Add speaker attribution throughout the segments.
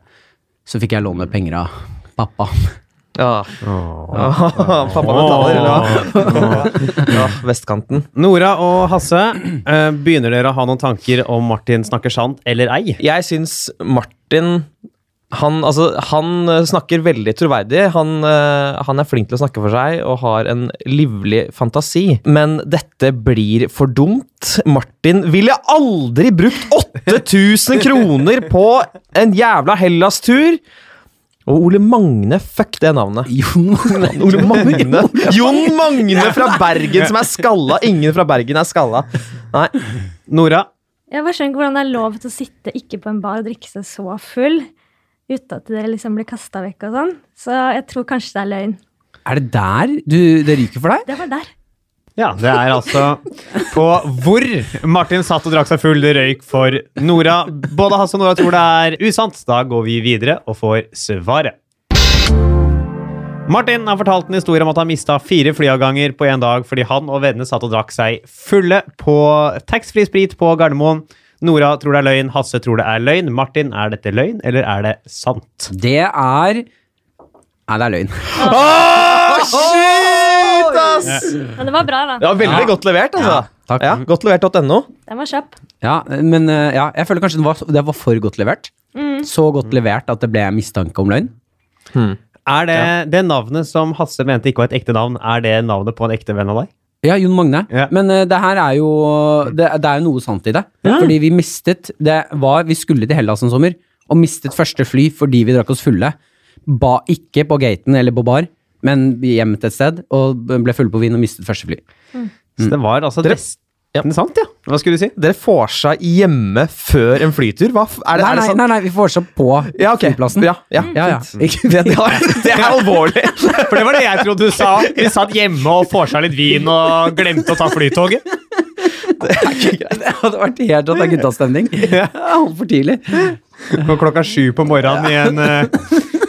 Speaker 1: Så fikk jeg låne penger av pappa.
Speaker 2: ja. Pappa betaler. Ja. ja, vestkanten.
Speaker 3: Nora og Hasse, eh, begynner dere å ha noen tanker om Martin snakker sant eller ei?
Speaker 2: Jeg syns Martin han, altså, han eh, snakker veldig troverdig. Han, eh, han er flink til å snakke for seg og har en livlig fantasi. Men dette blir for dumt. Martin ville aldri brukt 8000 kroner på en jævla Hellas-tur! Og Ole Magne, fuck det navnet.
Speaker 1: Jon Magne.
Speaker 2: Ole Magne. Jon Magne fra Bergen som er skalla! Ingen fra Bergen er skalla. Nei.
Speaker 3: Nora,
Speaker 4: Jeg bare skjønner ikke hvordan det er lov til å sitte ikke på en bar og drikke seg så full uten at dere liksom blir kasta vekk og sånn. Så jeg tror kanskje det er løgn.
Speaker 1: Er det der du, det ryker for deg?
Speaker 4: Det var der.
Speaker 3: Ja, det er altså på hvor Martin satt og drakk seg full det røyk for Nora. Både Hasse og Nora tror det er usant. Da går vi videre og får svaret. Martin har fortalt en historie om at han mista fire flyavganger på én dag fordi han og vennene satt og drakk seg fulle på taxfree sprit på Gardermoen. Nora tror det er løgn, Hasse tror det er løgn. Martin, er dette løgn, eller er det sant?
Speaker 1: Det er Nei, det er løgn.
Speaker 2: Shit, ass!
Speaker 4: Men det var bra, da.
Speaker 2: Ja, veldig godt levert, altså.
Speaker 1: Ja, takk.
Speaker 2: Ja, godt levert.no.
Speaker 4: Den var kjapp.
Speaker 1: Ja, men eh, ja, jeg føler kanskje det var, det var for godt levert. Så godt levert at det ble mistanke om løgn.
Speaker 3: Er det det navnet som Hasse mente ikke var et ekte navn, er det navnet på en ekte venn av deg?
Speaker 1: Ja, Jon Magne.
Speaker 3: Ja.
Speaker 1: Men eh, det her er jo det, det er jo noe sant i det. Fordi vi mistet det var, Vi skulle til Hellas en sommer og mistet første fly fordi vi drakk oss fulle. Ba ikke på gaten eller på bar, men hjem til et sted. Og ble fulle på vin og mistet første fly.
Speaker 3: Så det var altså
Speaker 2: Dere-
Speaker 3: nesten sant, ja. Hva skulle du si?
Speaker 2: Dere får seg hjemme før en flytur? Hva f- er det,
Speaker 1: nei,
Speaker 2: er det sånn-
Speaker 1: nei,
Speaker 2: sant?
Speaker 1: nei, nei, vi får seg på
Speaker 2: Ja, ok.
Speaker 1: flyplassen.
Speaker 2: Ja, ja. Mm,
Speaker 1: Ja, ja.
Speaker 2: Fint. Det, det, er- det er alvorlig.
Speaker 3: For det var det jeg trodde du sa. Vi satt hjemme og får seg litt vin og glemte å ta flytoget.
Speaker 1: Det hadde vært helt at det er guttastemning. Ja, Altfor tidlig.
Speaker 3: Og klokka sju på morgenen i en eh,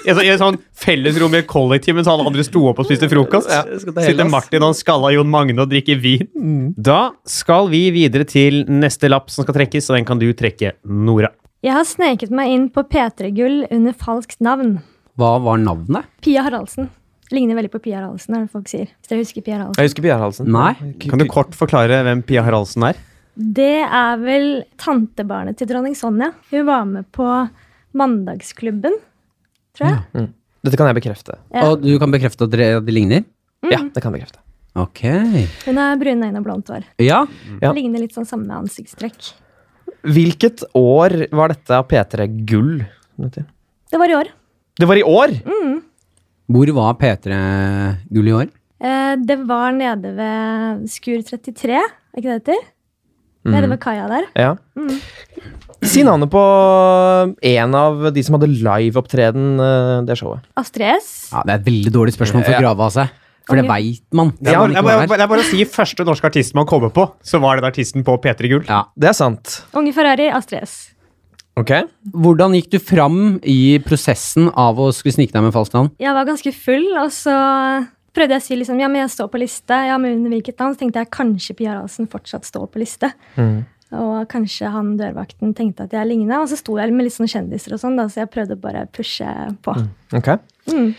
Speaker 3: i et sånt- i et sånn fellesrom i et kollektiv mens alle andre sto opp og spiste frokost.
Speaker 1: jeg skal ta
Speaker 3: Sitter
Speaker 1: Hellas.
Speaker 3: Martin og han skalla Jon Magne og drikker vin. Da skal vi videre til neste lapp som skal trekkes, og den kan du trekke, Nora.
Speaker 4: Jeg har sneket meg inn på P3-gull under falskt navn.
Speaker 1: Hva var navnet?
Speaker 4: Pia Haraldsen. Ligner veldig på Pia Haraldsen, er det folk sier. Hvis dere husker Pia Haraldsen.
Speaker 2: Jeg husker Bjørn Halsen.
Speaker 1: Nei.
Speaker 3: Kan du kort forklare hvem Pia Haraldsen er?
Speaker 4: Det er vel tantebarnet til dronning Sonja. Hun var med på Mandagsklubben, tror jeg.
Speaker 2: Dette kan jeg bekrefte.
Speaker 4: Ja.
Speaker 1: Og du kan bekrefte at dere- at de ligner?
Speaker 2: Ja, det kan jeg bekrefte.
Speaker 1: Ok.
Speaker 4: Hun har brune øyne og blondt hår.
Speaker 1: Ja.
Speaker 2: Ja.
Speaker 4: Ligner litt sånn samme ansiktstrekk.
Speaker 2: Hvilket år var dette av P3 Gull? Det
Speaker 4: Det var i år.
Speaker 2: var i år!
Speaker 1: Mm. Hvor var P3-gull i år?
Speaker 4: Eh, det var nede ved Skur 33, er ikke det det heter? Nede ved kaia der.
Speaker 2: Ja.
Speaker 1: Mm.
Speaker 2: Si navnet på eh, en av de som hadde liveopptreden eh, det showet.
Speaker 4: Astrid S.
Speaker 1: Ja, Det er et veldig dårlig spørsmål for å grave av seg. For det veit man.
Speaker 3: Det er, bare,
Speaker 1: man
Speaker 3: det,
Speaker 1: ikke
Speaker 3: er bare,
Speaker 1: var der.
Speaker 3: det er bare å si første norske artist man kommer på, så var den artisten på P3 Gull.
Speaker 1: Ja.
Speaker 2: Det er sant.
Speaker 4: Unge Ferrari, Astrid S.
Speaker 2: Ok.
Speaker 1: Hvordan gikk du fram i prosessen av å skulle snike deg med falskt navn?
Speaker 4: Jeg var ganske full, og så prøvde jeg å si liksom, ja, men jeg står på liste. Ja, men under hvilket navn? Så tenkte jeg kanskje Pia Rahlsen fortsatt står på liste. Og kanskje han dørvakten tenkte at jeg ligna. Og så sto jeg med litt sånn kjendiser og sånn, da, så jeg prøvde å bare pushe på.
Speaker 2: ok.
Speaker 4: Mm.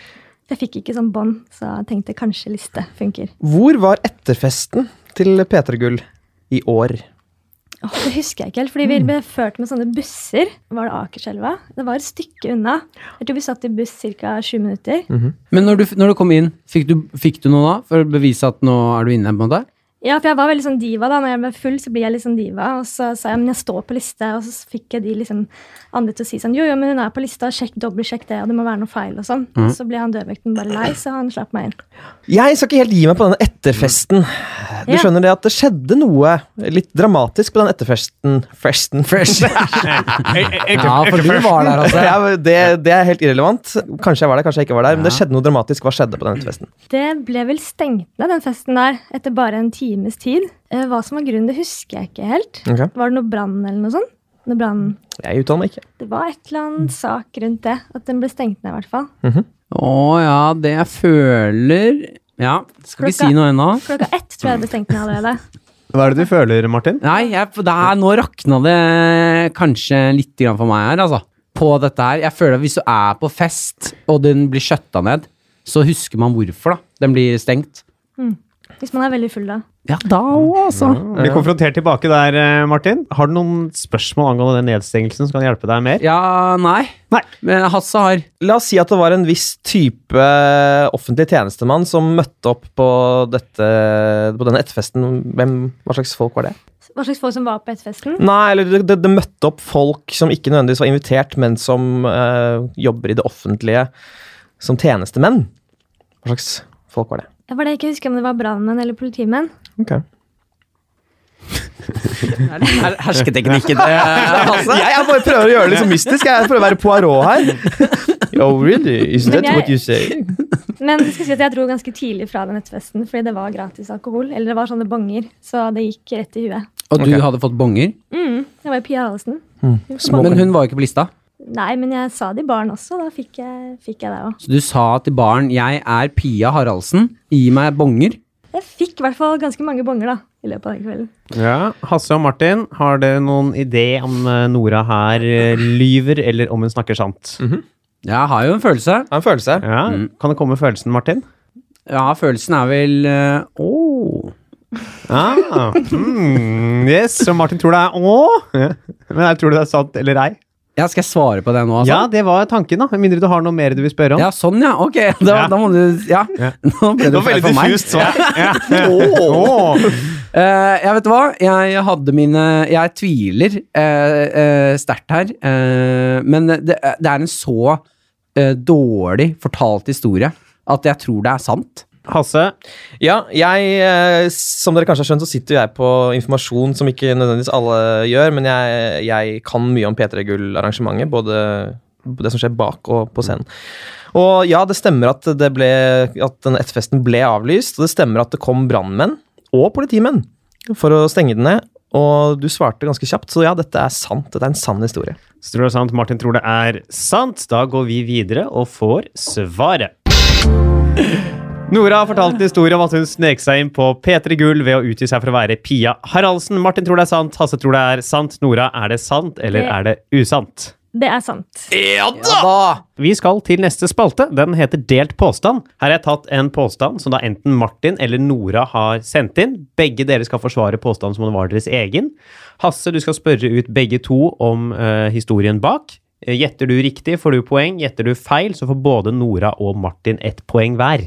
Speaker 4: Jeg fikk ikke sånn bånd, så jeg tenkte kanskje liste funker.
Speaker 2: Hvor var etterfesten til P3 Gull i år?
Speaker 4: Åh, det husker jeg ikke helt, fordi vi ble ført med sånne busser. Var det Akerselva? Det var et stykke unna. Jeg tror vi satt i buss ca. 20 minutter.
Speaker 1: Men når du, når du kom inn, fikk du, fikk du noe da? For å bevise at nå er du inne? på en måte?
Speaker 4: Ja, for jeg var veldig sånn diva da. Når jeg ble full, så blir jeg litt sånn diva. Og så sa jeg men jeg står på liste, og så fikk jeg de liksom andre til å si sånn jo, jo, men hun er på lista, sjekk, dobbeltsjekk det, og det må være noe feil og sånn. Og så ble han dørvekten bare lei, så han slapp meg inn.
Speaker 2: Jeg skal ikke helt gi meg på denne etterfesten. Du
Speaker 4: Ja.
Speaker 2: skjønner det at det skjedde noe litt dramatisk på den etterfesten. Festen, fresh.
Speaker 1: Ja, for du var der, altså.
Speaker 2: Ja, men det, det er helt irrelevant. Kanskje jeg var der, kanskje jeg ikke var der. Men det skjedde noe dramatisk. Hva skjedde på den etterfesten?
Speaker 4: Det ble vel stengt ned, den festen der, etter bare en times tid. Eh, Hva som var grunnen, det husker jeg ikke helt.
Speaker 2: Ok.
Speaker 4: Var det noe brann eller noe sånt? Noe brann
Speaker 2: Jeg uttaler meg ikke.
Speaker 4: Det var et eller annet sak rundt det, at den ble stengt ned i hvert fall.
Speaker 1: Å ja, det jeg føler Ja, skal ikke
Speaker 4: Klokka-
Speaker 1: si noe ennå.
Speaker 4: Klokka ett tror jeg det ble stengt ned allerede.
Speaker 3: Hva er det du føler, Martin?
Speaker 1: Nei, jeg, for det er, nå rakna det kanskje litt grann for meg her, altså. På dette her. Jeg føler at hvis du er på fest, og den blir skjøtta ned, så husker man hvorfor, da. Den blir stengt.
Speaker 4: Hvis man er veldig full da.
Speaker 1: Ja, da òg, altså.
Speaker 3: Blir konfrontert tilbake der, eh, Martin. Har du noen spørsmål angående den nedstengelsen som kan hjelpe deg mer?
Speaker 1: Ja, nei.
Speaker 3: Nei.
Speaker 1: Men Hasse har
Speaker 2: La oss si at det var en viss type eh, offentlig tjenestemann som møtte opp på, dette, på denne etterfesten. Hvem, hva slags folk var det?
Speaker 4: Hva slags folk som var på ettfesten?
Speaker 2: Nei, eller det, det, det møtte opp folk som ikke nødvendigvis var invitert, men som eh, jobber i det offentlige som tjenestemenn. Hva slags folk var det?
Speaker 4: Det var det jeg ikke husker om det var brannmenn eller politimenn.
Speaker 2: Ok.
Speaker 1: her- hersketeknikken. eh, Hasse.
Speaker 2: Jeg, jeg bare prøver å gjøre det litt så mystisk. Jeg prøver å være Poirot her. Oh, really? Is
Speaker 4: Men jeg-
Speaker 2: you say?
Speaker 4: Men jeg skal si at jeg dro ganske tidlig fra den ettfesten, fordi det var gratis alkohol. Eller det var sånne bonger, så det gikk rett i huet.
Speaker 1: Og du
Speaker 2: Ok.
Speaker 1: hadde fått bonger.
Speaker 4: Mm, det var jo Pia Halsen.
Speaker 1: Men hun var jo ikke på lista.
Speaker 4: Nei, men jeg sa det i baren også. Da fikk jeg, fikk jeg det òg.
Speaker 1: Så du sa til baren 'Jeg er Pia Haraldsen, gi meg bonger'.
Speaker 4: Jeg fikk i hvert fall ganske mange bonger da, i løpet av den kvelden.
Speaker 3: Ja, Hasse og Martin, har dere noen idé om eh, Nora her eh, lyver, eller om hun snakker sant?
Speaker 1: Jeg har jo en følelse.
Speaker 2: Jeg har en følelse.
Speaker 3: Ja, Kan det komme følelsen, Martin?
Speaker 1: Ja, følelsen er vel eh, Å.
Speaker 3: Ah, mm, yes, så Martin tror det er å, Ja. men jeg tror det er sant eller ei.
Speaker 1: Ja, skal jeg svare på det nå, altså?
Speaker 3: Ja, det var tanken, da. Med mindre du har noe mer du vil spørre om.
Speaker 1: Ja, sånn ja. Ok, da,
Speaker 3: Ja.
Speaker 1: da må du Ja.
Speaker 3: Ja.
Speaker 1: Nå ble det feil for meg.
Speaker 3: svar. Ja. Å.
Speaker 1: Eh, jeg vet hva, jeg hadde mine Jeg tviler eh, eh, sterkt her, eh, men det, det er en så eh, dårlig fortalt historie at jeg tror det er sant.
Speaker 3: Hasse,
Speaker 2: Ja, jeg, eh, som dere kanskje har skjønt, så sitter jo jeg på informasjon som ikke nødvendigvis alle gjør, men jeg, jeg kan mye om P3 Gull-arrangementet, både det som skjer bak og på scenen. Og ja, det stemmer at, det ble, at den ettfesten ble avlyst, og det stemmer at det kom brannmenn og politimenn for å stenge den ned, og du svarte ganske kjapt, så ja, dette er sant. Dette er en sann historie.
Speaker 3: så tror det er sant. Martin tror det er sant. Da går vi videre og får svaret. Nora har fortalt en historie om at hun snek seg inn på P3 Gull ved å utgi seg for å være Pia Haraldsen. Martin tror det er sant, Hasse tror det er sant. Nora, er det sant, eller
Speaker 4: Det-
Speaker 3: er det usant?
Speaker 4: Det er sant.
Speaker 3: Vi skal til neste spalte. Den heter Delt påstand. Her har jeg tatt en påstand som da enten Martin eller Nora har sendt inn. Begge dere skal forsvare påstanden som om den var deres egen. Hasse, du skal spørre ut begge to om eh, historien bak. Eh, Gjetter du riktig, får du poeng. Gjetter du feil, så får både Nora og Martin ett poeng hver.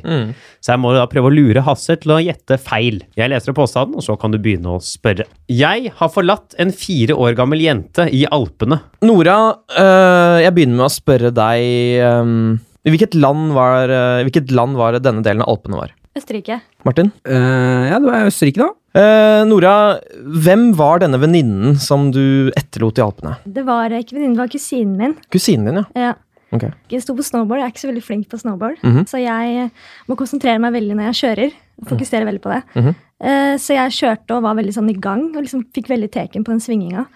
Speaker 3: Så jeg må da prøve å lure Hasse til å gjette feil. Jeg leser opp påstanden, og så kan du begynne å spørre. Jeg har forlatt en fire år gammel jente i Alpene.
Speaker 2: Nora, øh, jeg begynner med å spørre deg øhm, i hvilket land, var, øh, hvilket land var det denne delen av Alpene var?
Speaker 4: Østerrike.
Speaker 2: Martin?
Speaker 1: Eh, ja, du er i Østerrike, da.
Speaker 2: Eh, Nora, hvem var denne venninnen som du etterlot i Alpene?
Speaker 4: Det var eh, ikke venninnen, det var kusinen min.
Speaker 2: Kusinen din, ja.
Speaker 4: Ja.
Speaker 2: Ok.
Speaker 4: Jeg sto på snowboard, jeg er ikke så veldig flink på snowboard. Så jeg må konsentrere meg veldig når jeg kjører. og Fokusere veldig på det. Eh, Så jeg kjørte og var veldig sånn i gang, og liksom fikk veldig teken på den svinginga.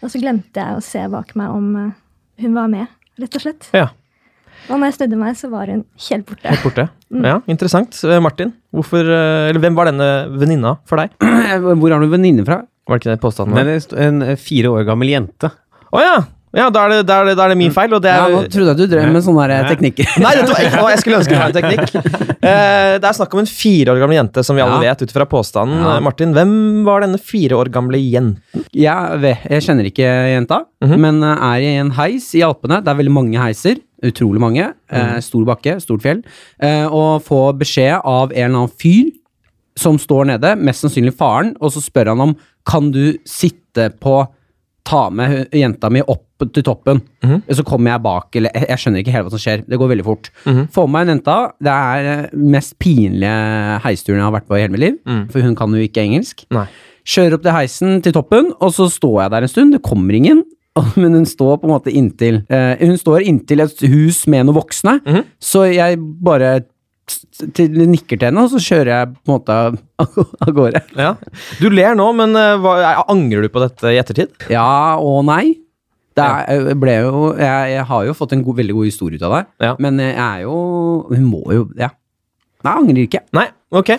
Speaker 4: Og så glemte jeg å se bak meg om eh, hun var med, rett og slett.
Speaker 2: Ja,
Speaker 4: Og når jeg snudde meg, så var hun helt borte.
Speaker 2: helt borte. Ja, Interessant. Eh, Martin, hvorfor, eh, eller hvem var denne venninna for deg?
Speaker 1: Hvor har du venninne fra?
Speaker 2: Var det ikke det påstanden?
Speaker 3: Men
Speaker 2: var?
Speaker 3: det sto en eh, fire år gammel jente.
Speaker 2: Å ja! ja da, er det, da, er det, da er det min feil, og det
Speaker 1: Mm. Ja,
Speaker 2: er
Speaker 1: nå trodde jeg du drev med sånne der
Speaker 3: Nei.
Speaker 1: teknikker.
Speaker 2: Nei, dette var ikke noe jeg skulle ønske meg en teknikk. Eh, det er snakk om en fire år gammel jente, som vi alle
Speaker 1: Ja.
Speaker 2: vet ut fra påstanden.
Speaker 1: Ja.
Speaker 2: Eh, Martin, hvem var denne fire år gamle jenten?
Speaker 1: Jeg, vet, jeg kjenner ikke jenta, men eh, er i en heis i Alpene. Det er veldig mange heiser. Utrolig mange. Eh, stor bakke, stort fjell. Eh, og få beskjed av en eller annen fyr som står nede, mest sannsynlig faren, og så spør han om kan du sitte på ta med hu- jenta mi opp til toppen, så kommer jeg bak, eller jeg, jeg skjønner ikke helt hva som skjer, det går veldig fort. Få med meg en jenta, det er eh, mest pinlige heisturen jeg har vært på i hele mitt liv, for hun kan jo ikke engelsk.
Speaker 2: Nei.
Speaker 1: Kjører opp til heisen til toppen, og så står jeg der en stund, det kommer ingen, men hun står på en måte inntil, eh, hun står inntil et hus med noen voksne, så jeg bare t- t- nikker til henne, og så kjører jeg på en måte av- av gårde.
Speaker 2: Ja. Du ler nå, men eh, hva, angrer du på dette i ettertid?
Speaker 1: Ja og nei. Det er, jeg ble jo, jeg, jeg har jo fått en god, veldig god historie ut av det,
Speaker 2: Ja.
Speaker 1: men jeg er jo Hun må jo Ja. Nei, jeg angrer ikke.
Speaker 2: Nei, ok.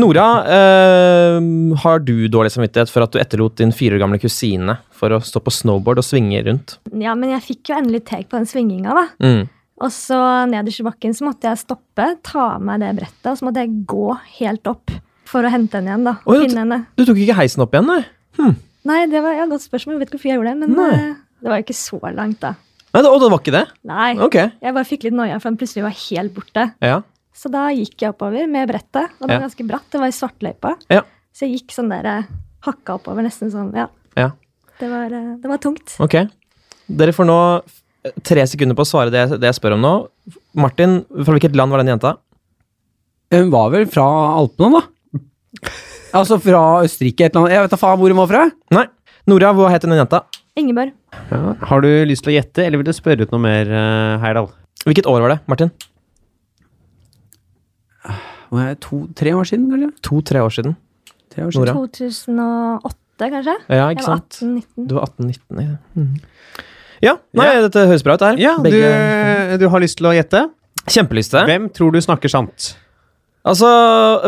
Speaker 2: Nora, eh, har du dårlig samvittighet for at du etterlot din fire år gamle kusine for å stå på snowboard og svinge rundt?
Speaker 4: Ja, men jeg fikk jo endelig tek på den svinginga, da.
Speaker 2: Mm.
Speaker 4: Og så nederst i bakken så måtte jeg stoppe, ta av meg det brettet, og så måtte jeg gå helt opp for å hente henne igjen, da. Og
Speaker 2: Oi, det-
Speaker 4: finne henne.
Speaker 2: Du tok ikke heisen opp igjen, nei?
Speaker 4: Nei, det var ja, godt spørsmål, jeg vet ikke hvorfor jeg gjorde det, men
Speaker 2: Nei.
Speaker 4: eh, det var jo ikke så langt, da.
Speaker 2: nei det, å, det var ikke det?
Speaker 4: Nei.
Speaker 2: Ok.
Speaker 4: Jeg bare fikk litt noia, for den plutselig var helt borte.
Speaker 2: Ja.
Speaker 4: Så da gikk jeg oppover med brettet, og det
Speaker 2: Ja.
Speaker 4: var ganske bratt, det var i svartløypa.
Speaker 2: Ja.
Speaker 4: Så jeg gikk sånn der eh, hakka oppover, nesten sånn, ja.
Speaker 2: Ja.
Speaker 4: Det var, eh, det var tungt.
Speaker 2: Ok. Dere får nå eh, tre sekunder på å svare det, det jeg spør om nå. Martin, fra hvilket land var den jenta?
Speaker 1: Hun var vel fra Alpene, da? Altså fra Østerrike, et eller annet. Jeg vet da faen hvor hun var fra.
Speaker 2: Nei. Nora, hva het den jenta?
Speaker 4: Ingeborg,
Speaker 3: Ja. Har du lyst til å gjette, eller vil du spørre ut noe mer, eh, Heyerdahl?
Speaker 2: Hvilket år var det, Martin?
Speaker 1: Hvor er det, To-tre år siden, kanskje?
Speaker 2: To-tre år siden.
Speaker 1: Tre år siden.
Speaker 2: Nora.
Speaker 4: 2008, kanskje?
Speaker 2: Ja,
Speaker 4: Jeg
Speaker 2: ikke
Speaker 4: var
Speaker 2: sant?
Speaker 4: 18-19.
Speaker 2: Du var 18-19. Ja. Mm. ja. Nei, dette høres bra ut, det her.
Speaker 3: Ja, du,
Speaker 2: Begge-
Speaker 3: du har lyst til å gjette?
Speaker 2: Kjempelyste.
Speaker 3: Hvem tror du snakker sant?
Speaker 2: Altså,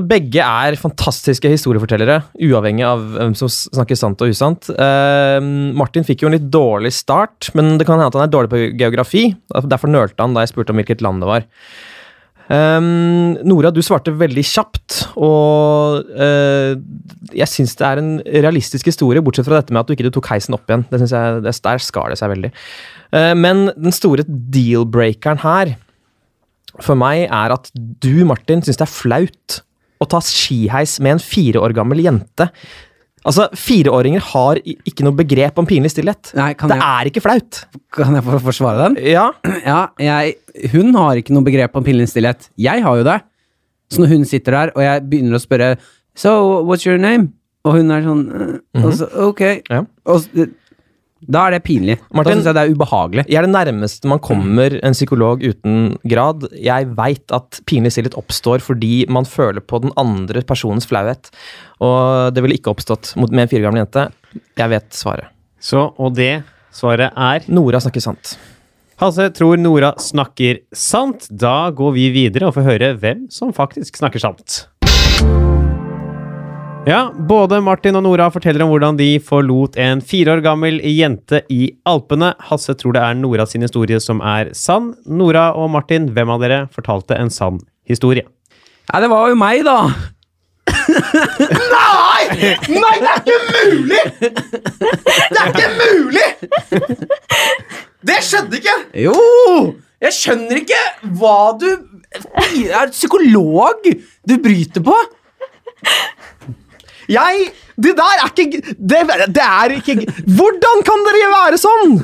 Speaker 2: Begge er fantastiske historiefortellere, uavhengig av hvem som s- snakker sant og usant. Eh, Martin fikk jo en litt dårlig start, men det kan hende at han er dårlig på geografi. Derfor nølte han da jeg spurte om hvilket land det var. Eh, Nora, du svarte veldig kjapt, og eh, jeg syns det er en realistisk historie, bortsett fra dette med at du ikke tok heisen opp igjen. Det synes jeg, det, Der skar det seg veldig. Eh, men den store deal-breakeren her for meg er at du, Martin, syns det er flaut å ta skiheis med en fire år gammel jente. Altså, Fireåringer har i- ikke noe begrep om pinlig stillhet.
Speaker 1: Nei, kan
Speaker 2: Det
Speaker 1: jeg,
Speaker 2: er ikke flaut.
Speaker 1: kan jeg få forsvare den?
Speaker 2: Ja,
Speaker 1: Ja, jeg, hun har ikke noe begrep om pillens stillhet. Jeg har jo det. Så når hun sitter der, og jeg begynner å spørre So, what's your name? Og hun er sånn «Eh», og så, Ok.
Speaker 2: Mhm. Ja.
Speaker 1: Og, s- da er det pinlig. da
Speaker 2: Martin-
Speaker 1: syns jeg det er ubehagelig.
Speaker 2: Jeg er det nærmeste man kommer en psykolog uten grad. Jeg veit at pinlig stillhet oppstår fordi man føler på den andre personens flauhet. Og det ville ikke oppstått mot- med en fire år gammel jente. Jeg vet svaret.
Speaker 3: Så, og det svaret er
Speaker 2: Nora snakker sant.
Speaker 3: Hasse tror Nora snakker sant. Da går vi videre og får høre hvem som faktisk snakker sant. Ja, både Martin og Nora forteller om hvordan de forlot en fire år gammel jente i Alpene. Hasse tror det er Nora sin historie som er sann. Nora og Martin, hvem av dere fortalte en sann historie?
Speaker 1: Nei, det var jo meg, da.
Speaker 2: Det skjedde ikke!
Speaker 1: Jo! Jeg skjønner ikke hva du er psykolog du bryter på.
Speaker 2: Jeg Det der er ikke det, det er ikke Hvordan kan dere være sånn?!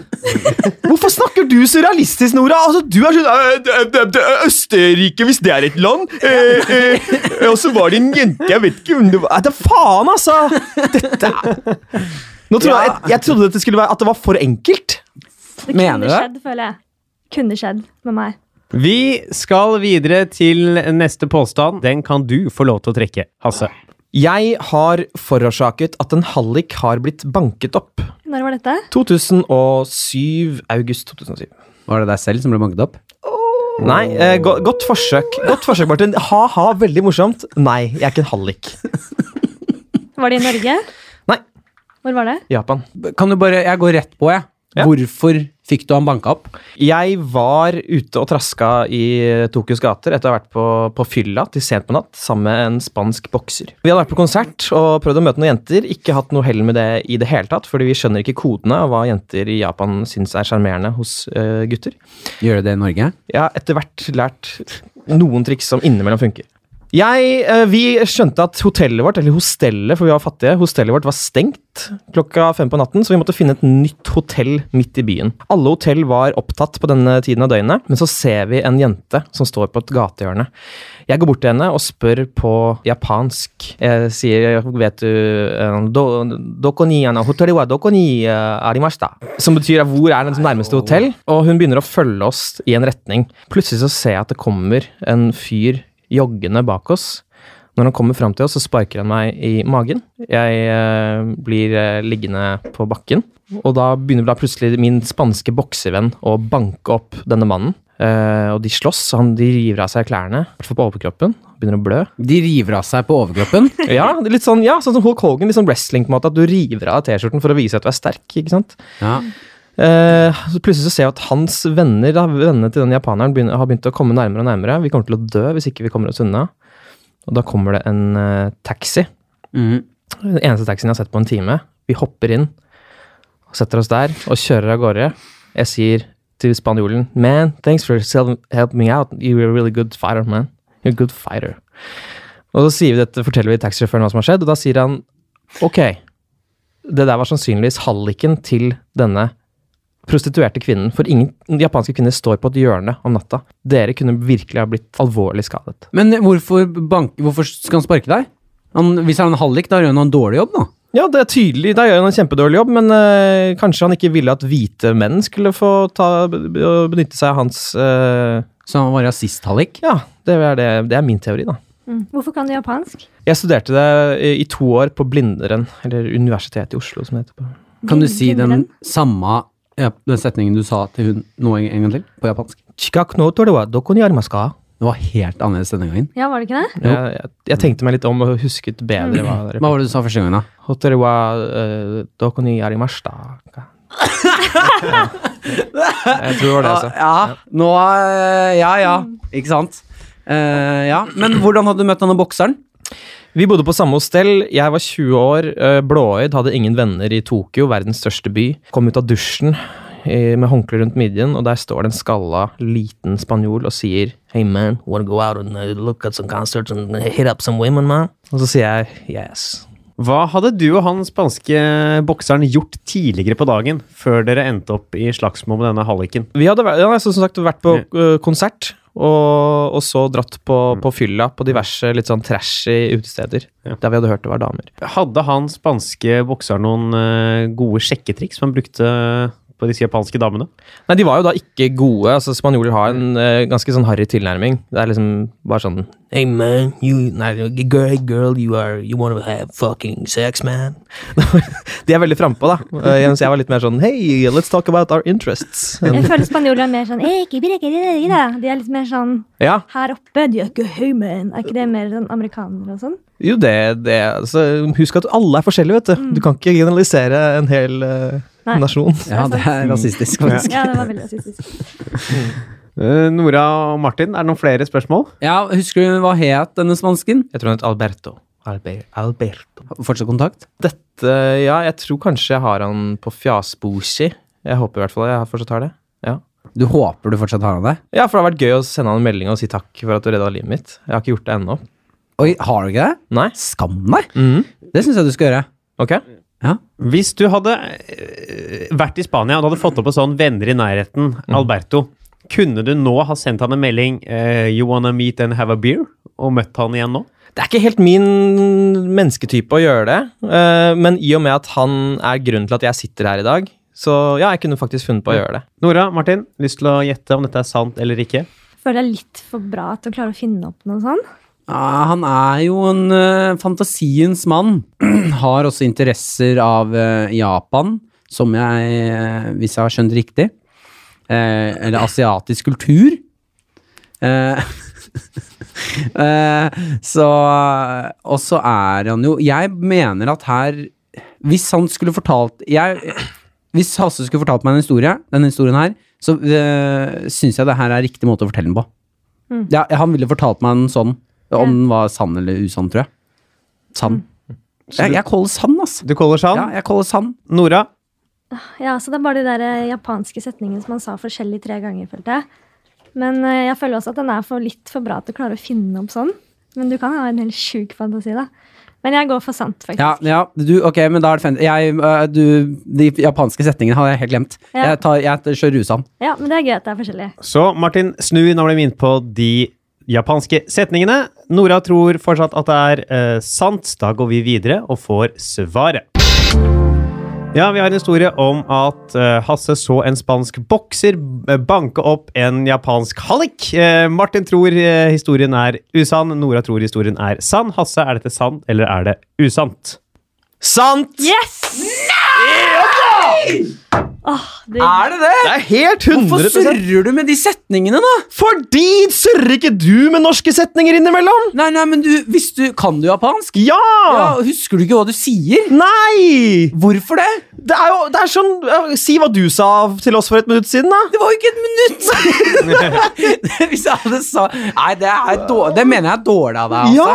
Speaker 2: Hvorfor snakker du så realistisk, Nora? Altså, Du er sånn «Eh, det- det- det er Østerrike, hvis det er et land. Eh, eh, og så var det en jente Jeg vet ikke om det var Nei, Det faen, altså! Dette er Nå trodde jeg, jeg trodde dette skulle være at det var for enkelt.
Speaker 4: Det
Speaker 1: Mener du
Speaker 4: kunne
Speaker 1: det?
Speaker 4: skjedd, føler jeg. Kunne skjedd med meg.
Speaker 3: Vi skal videre til neste påstand. Den kan du få lov til å trekke, Hasse.
Speaker 2: Jeg har forårsaket at en hallik har blitt banket opp.
Speaker 4: Når var dette?
Speaker 2: 2007. August 2007.
Speaker 1: Var det deg selv som ble banket opp?
Speaker 2: Nei, eh, go godt forsøk. Godt forsøk, Martin. Ha-ha, veldig morsomt. Nei, jeg er ikke en hallik.
Speaker 4: Var det i Norge?
Speaker 2: Nei.
Speaker 4: Hvor var det?
Speaker 2: Japan.
Speaker 1: Kan du bare, Jeg går rett på, jeg.
Speaker 2: Ja.
Speaker 1: Hvorfor fikk du han banka opp?
Speaker 2: Jeg var ute og traska i Tokyos gater etter å ha vært på, på fylla til sent på natt sammen med en spansk bokser. Vi hadde vært på konsert og prøvd å møte noen jenter. Ikke hatt noe hell med det i det hele tatt, fordi vi skjønner ikke kodene og hva jenter i Japan syns er sjarmerende hos eh, gutter.
Speaker 1: Gjør det det i Norge?
Speaker 2: Jeg har etter hvert lært noen triks som innimellom funker. Jeg, eh, vi skjønte at hotellet vårt, eller hostellet, for vi var fattige, hostellet vårt var stengt klokka fem på natten, så vi måtte finne et nytt hotell midt i byen. Alle hotell var opptatt på denne tiden av døgnet, men så ser vi en jente som står på et gatehjørne. Jeg går bort til henne og spør på japansk. Jeg sier, vet du, eh, do, dokoni, ana, hotellet wa dokoni, eh, arimashita? Som betyr eh, hvor er den som nærmeste hotell? Og hun begynner å følge oss i en retning. Plutselig så ser jeg at det kommer en fyr joggende bak oss. Når han kommer fram til oss, så sparker han meg i magen. Jeg eh, blir eh, liggende på bakken. Og da begynner da plutselig min spanske boksevenn å banke opp denne mannen. Eh, og de slåss, han, de river av seg klærne, i hvert fall på overkroppen. Begynner å blø.
Speaker 1: De river av seg på overkroppen.
Speaker 2: Ja, det er litt sånn, ja, sånn som Hulk Hogan, litt sånn wrestling på en måte, at du river av T-skjorten for å vise at du er sterk, ikke sant?
Speaker 1: Ja.
Speaker 2: Eh, så plutselig så ser jeg at hans venner da, vennene til den japaneren begynner, har begynt å komme nærmere og nærmere. Vi kommer til å dø hvis ikke vi kommer oss unna. Og da kommer det en eh, taxi.
Speaker 1: Mhm.
Speaker 2: Den eneste taxien jeg har sett på en time. Vi hopper inn, og setter oss der og kjører av gårde. Jeg sier til spanjolen Man, thanks for sel- helping me out. You're a really good fighter, man. You're a good fighter. Og så sier vi dette, forteller vi taxisjåføren hva som har skjedd, og da sier han ok, det der var sannsynligvis halliken til denne prostituerte kvinnen, for ingen japanske kvinner står på et hjørne om natta. Dere kunne virkelig ha blitt alvorlig skadet.
Speaker 1: Men hvorfor, bank, hvorfor skal han sparke deg? Han, hvis han er en hallik, da gjør han en dårlig jobb, da.
Speaker 2: Ja, det er tydelig. Da gjør han en kjempedårlig jobb, men eh, kanskje han ikke ville at hvite menn skulle få ta, b- b- benytte seg av hans eh,
Speaker 1: Så han var rasist-hallik.
Speaker 2: Ja, det er, det, det er min teori, da.
Speaker 4: Mm. Hvorfor kan du japansk?
Speaker 2: Jeg studerte det i, i to år på Blindern, eller Universitetet i Oslo, som det heter. på.
Speaker 1: Kan du si den
Speaker 4: Blindern?
Speaker 1: samme ja, den setningen du sa til hun nå en en gang til, på japansk? Det var helt annerledes denne gangen.
Speaker 4: Ja, var det ikke det?
Speaker 2: Jeg, jeg, jeg tenkte meg litt om og husket bedre hva
Speaker 1: Hva var det du sa første gangen, da?
Speaker 2: Hotel wa eh, dokoni arimashita. Jeg tror det var det, altså.
Speaker 1: Ja, nå eh, Ja, ja. Ikke sant? Eh, ja, Men hvordan hadde du møtt denne bokseren?
Speaker 2: Vi bodde på samme hostell. Jeg var 20 år, eh, blåøyd, hadde ingen venner i Tokyo, verdens største by. Kom ut av dusjen eh, med håndkle rundt midjen, og der står det en skalla liten spanjol og sier Hey man, wanna go out and uh, look at some concerts and uh, hit up some women, man? Og så sier jeg yes.
Speaker 3: Hva hadde du og han spanske bokseren gjort tidligere på dagen, før dere endte opp i slagsmål med denne halliken?
Speaker 2: Vi hadde vært, ja, altså, som sagt vært på eh, konsert, og, og så dratt på, på fylla på diverse litt sånn trashy utesteder,
Speaker 3: Ja.
Speaker 2: der vi hadde hørt det var damer.
Speaker 3: Hadde han spanske bokseren noen eh, gode sjekketriks som han brukte på disse japanske damene?
Speaker 2: Nei, de var jo da ikke gode. altså Spanjoler har en eh, ganske sånn harry tilnærming. Det er liksom bare sånn Hey man, you nei, girl, hey girl, you are You wanna have fucking sex, man? de er veldig frampå, da. Eh, Mens jeg var litt mer sånn Hey, let's talk about our interests.
Speaker 4: Jeg føler spanjoler er mer sånn «Eh, ikke brekk, ikke brekk, da». De er litt mer sånn
Speaker 2: Ja,
Speaker 4: her oppe. De er ikke høy, men. Er ikke det mer sånn amerikanere og sånn?
Speaker 2: jo det, det altså, Husk at alle er forskjellige, vet du. Du kan ikke generalisere en hel eh,
Speaker 4: Nei.
Speaker 2: nasjon.
Speaker 1: Ja, det er rasistisk, faktisk.
Speaker 4: Ja, det var veldig rasistisk.
Speaker 3: Eh, Nora og Martin, er det noen flere spørsmål?
Speaker 1: Ja, Husker du hva het denne spansken?
Speaker 2: Jeg tror han het Alberto. Alber- Alberto.
Speaker 1: Fortsatt kontakt?
Speaker 2: Dette Ja, jeg tror kanskje jeg har han på fjasbosi. Jeg håper i hvert fall jeg fortsatt har det. Ja.
Speaker 1: Du håper du fortsatt har han deg?
Speaker 2: Ja, for det har vært gøy å sende han en melding og si takk for at du redda livet mitt. Jeg har ikke gjort det ennå.
Speaker 1: Oi, har du ikke det?
Speaker 2: Nei?
Speaker 1: Skam deg! Det syns jeg du skal gjøre.
Speaker 2: Ok.
Speaker 1: Ja.
Speaker 3: Hvis du hadde eh, vært i Spania og du hadde fått opp en sånn venner i nærheten, Alberto, kunne du nå ha sendt han en melding eh, You wanna meet and have a beer? Og møtt han igjen nå?
Speaker 2: Det er ikke helt min mennesketype å gjøre det, eh, men i og med at han er grunnen til at jeg sitter her i dag, så ja, jeg kunne faktisk funnet på å gjøre det.
Speaker 3: Nora, Martin, lyst til å gjette om dette er sant eller ikke?
Speaker 4: Føler det er litt for bra til å klare å finne opp noe sånn.
Speaker 1: Ja, han er jo en eh, ø, fantasiens mann. har også interesser av ø, eh, Japan. som jeg, eh, hvis jeg har skjønt riktig, eh, eller asiatisk kultur. Eh, eh, så Og så er han jo Jeg mener at her Hvis han skulle fortalt jeg, Hvis Hasse skulle fortalt meg en historie, denne historien her, så øh, syns jeg det her er riktig måte å fortelle den på. Ja, han ville fortalt meg den sånn, om den var sann eller usann, tror jeg. Sann. Jeg, jeg caller sann, ass.
Speaker 3: Du caller sann?
Speaker 1: Ja, jeg caller sann.
Speaker 3: Nora?
Speaker 4: Ja, så det er bare de der eh, japanske setningene som han sa forskjellig tre ganger, følte jeg. Men eh, jeg føler også at den er for litt for bra til å klare å finne opp sånn. Men du kan ha en helt sjuk fantasi, da. Men jeg går for sant, faktisk.
Speaker 1: Ja, ja, du, ok, men da er det fem. Jeg, øh, du, de japanske setningene hadde jeg helt glemt.
Speaker 4: Ja.
Speaker 1: Jeg, tar, jeg kjører usann.
Speaker 4: Ja, men det er gøy at det er forskjellig.
Speaker 3: Så Martin, snu når du minner på de japanske setningene. Nora tror fortsatt at det er eh, sant. Da går vi videre og får svaret. Ja, vi har en historie om at eh, Hasse så en spansk bokser eh, banke opp en japansk hallik. Eh, Martin tror eh, historien er usann, Nora tror historien er sann. Hasse, er dette sant, eller er det usant?
Speaker 2: Sant!
Speaker 4: Yes! Nei! Åh,
Speaker 2: Er det det? Det er helt 100
Speaker 1: surrer du med de setningene, da?
Speaker 2: Fordi surrer ikke du med norske setninger innimellom?
Speaker 1: Nei, nei, men du, hvis du kan du japansk,
Speaker 2: Ja!
Speaker 1: ja, husker du ikke hva du sier?
Speaker 2: Nei!
Speaker 1: Hvorfor det?
Speaker 2: Det er jo det er sånn ja, Si hva du sa til oss for et minutt siden, da.
Speaker 1: Det var jo ikke et minutt! hvis jeg hadde sa Nei, det, er dårlig, det mener jeg er dårlig av deg, altså.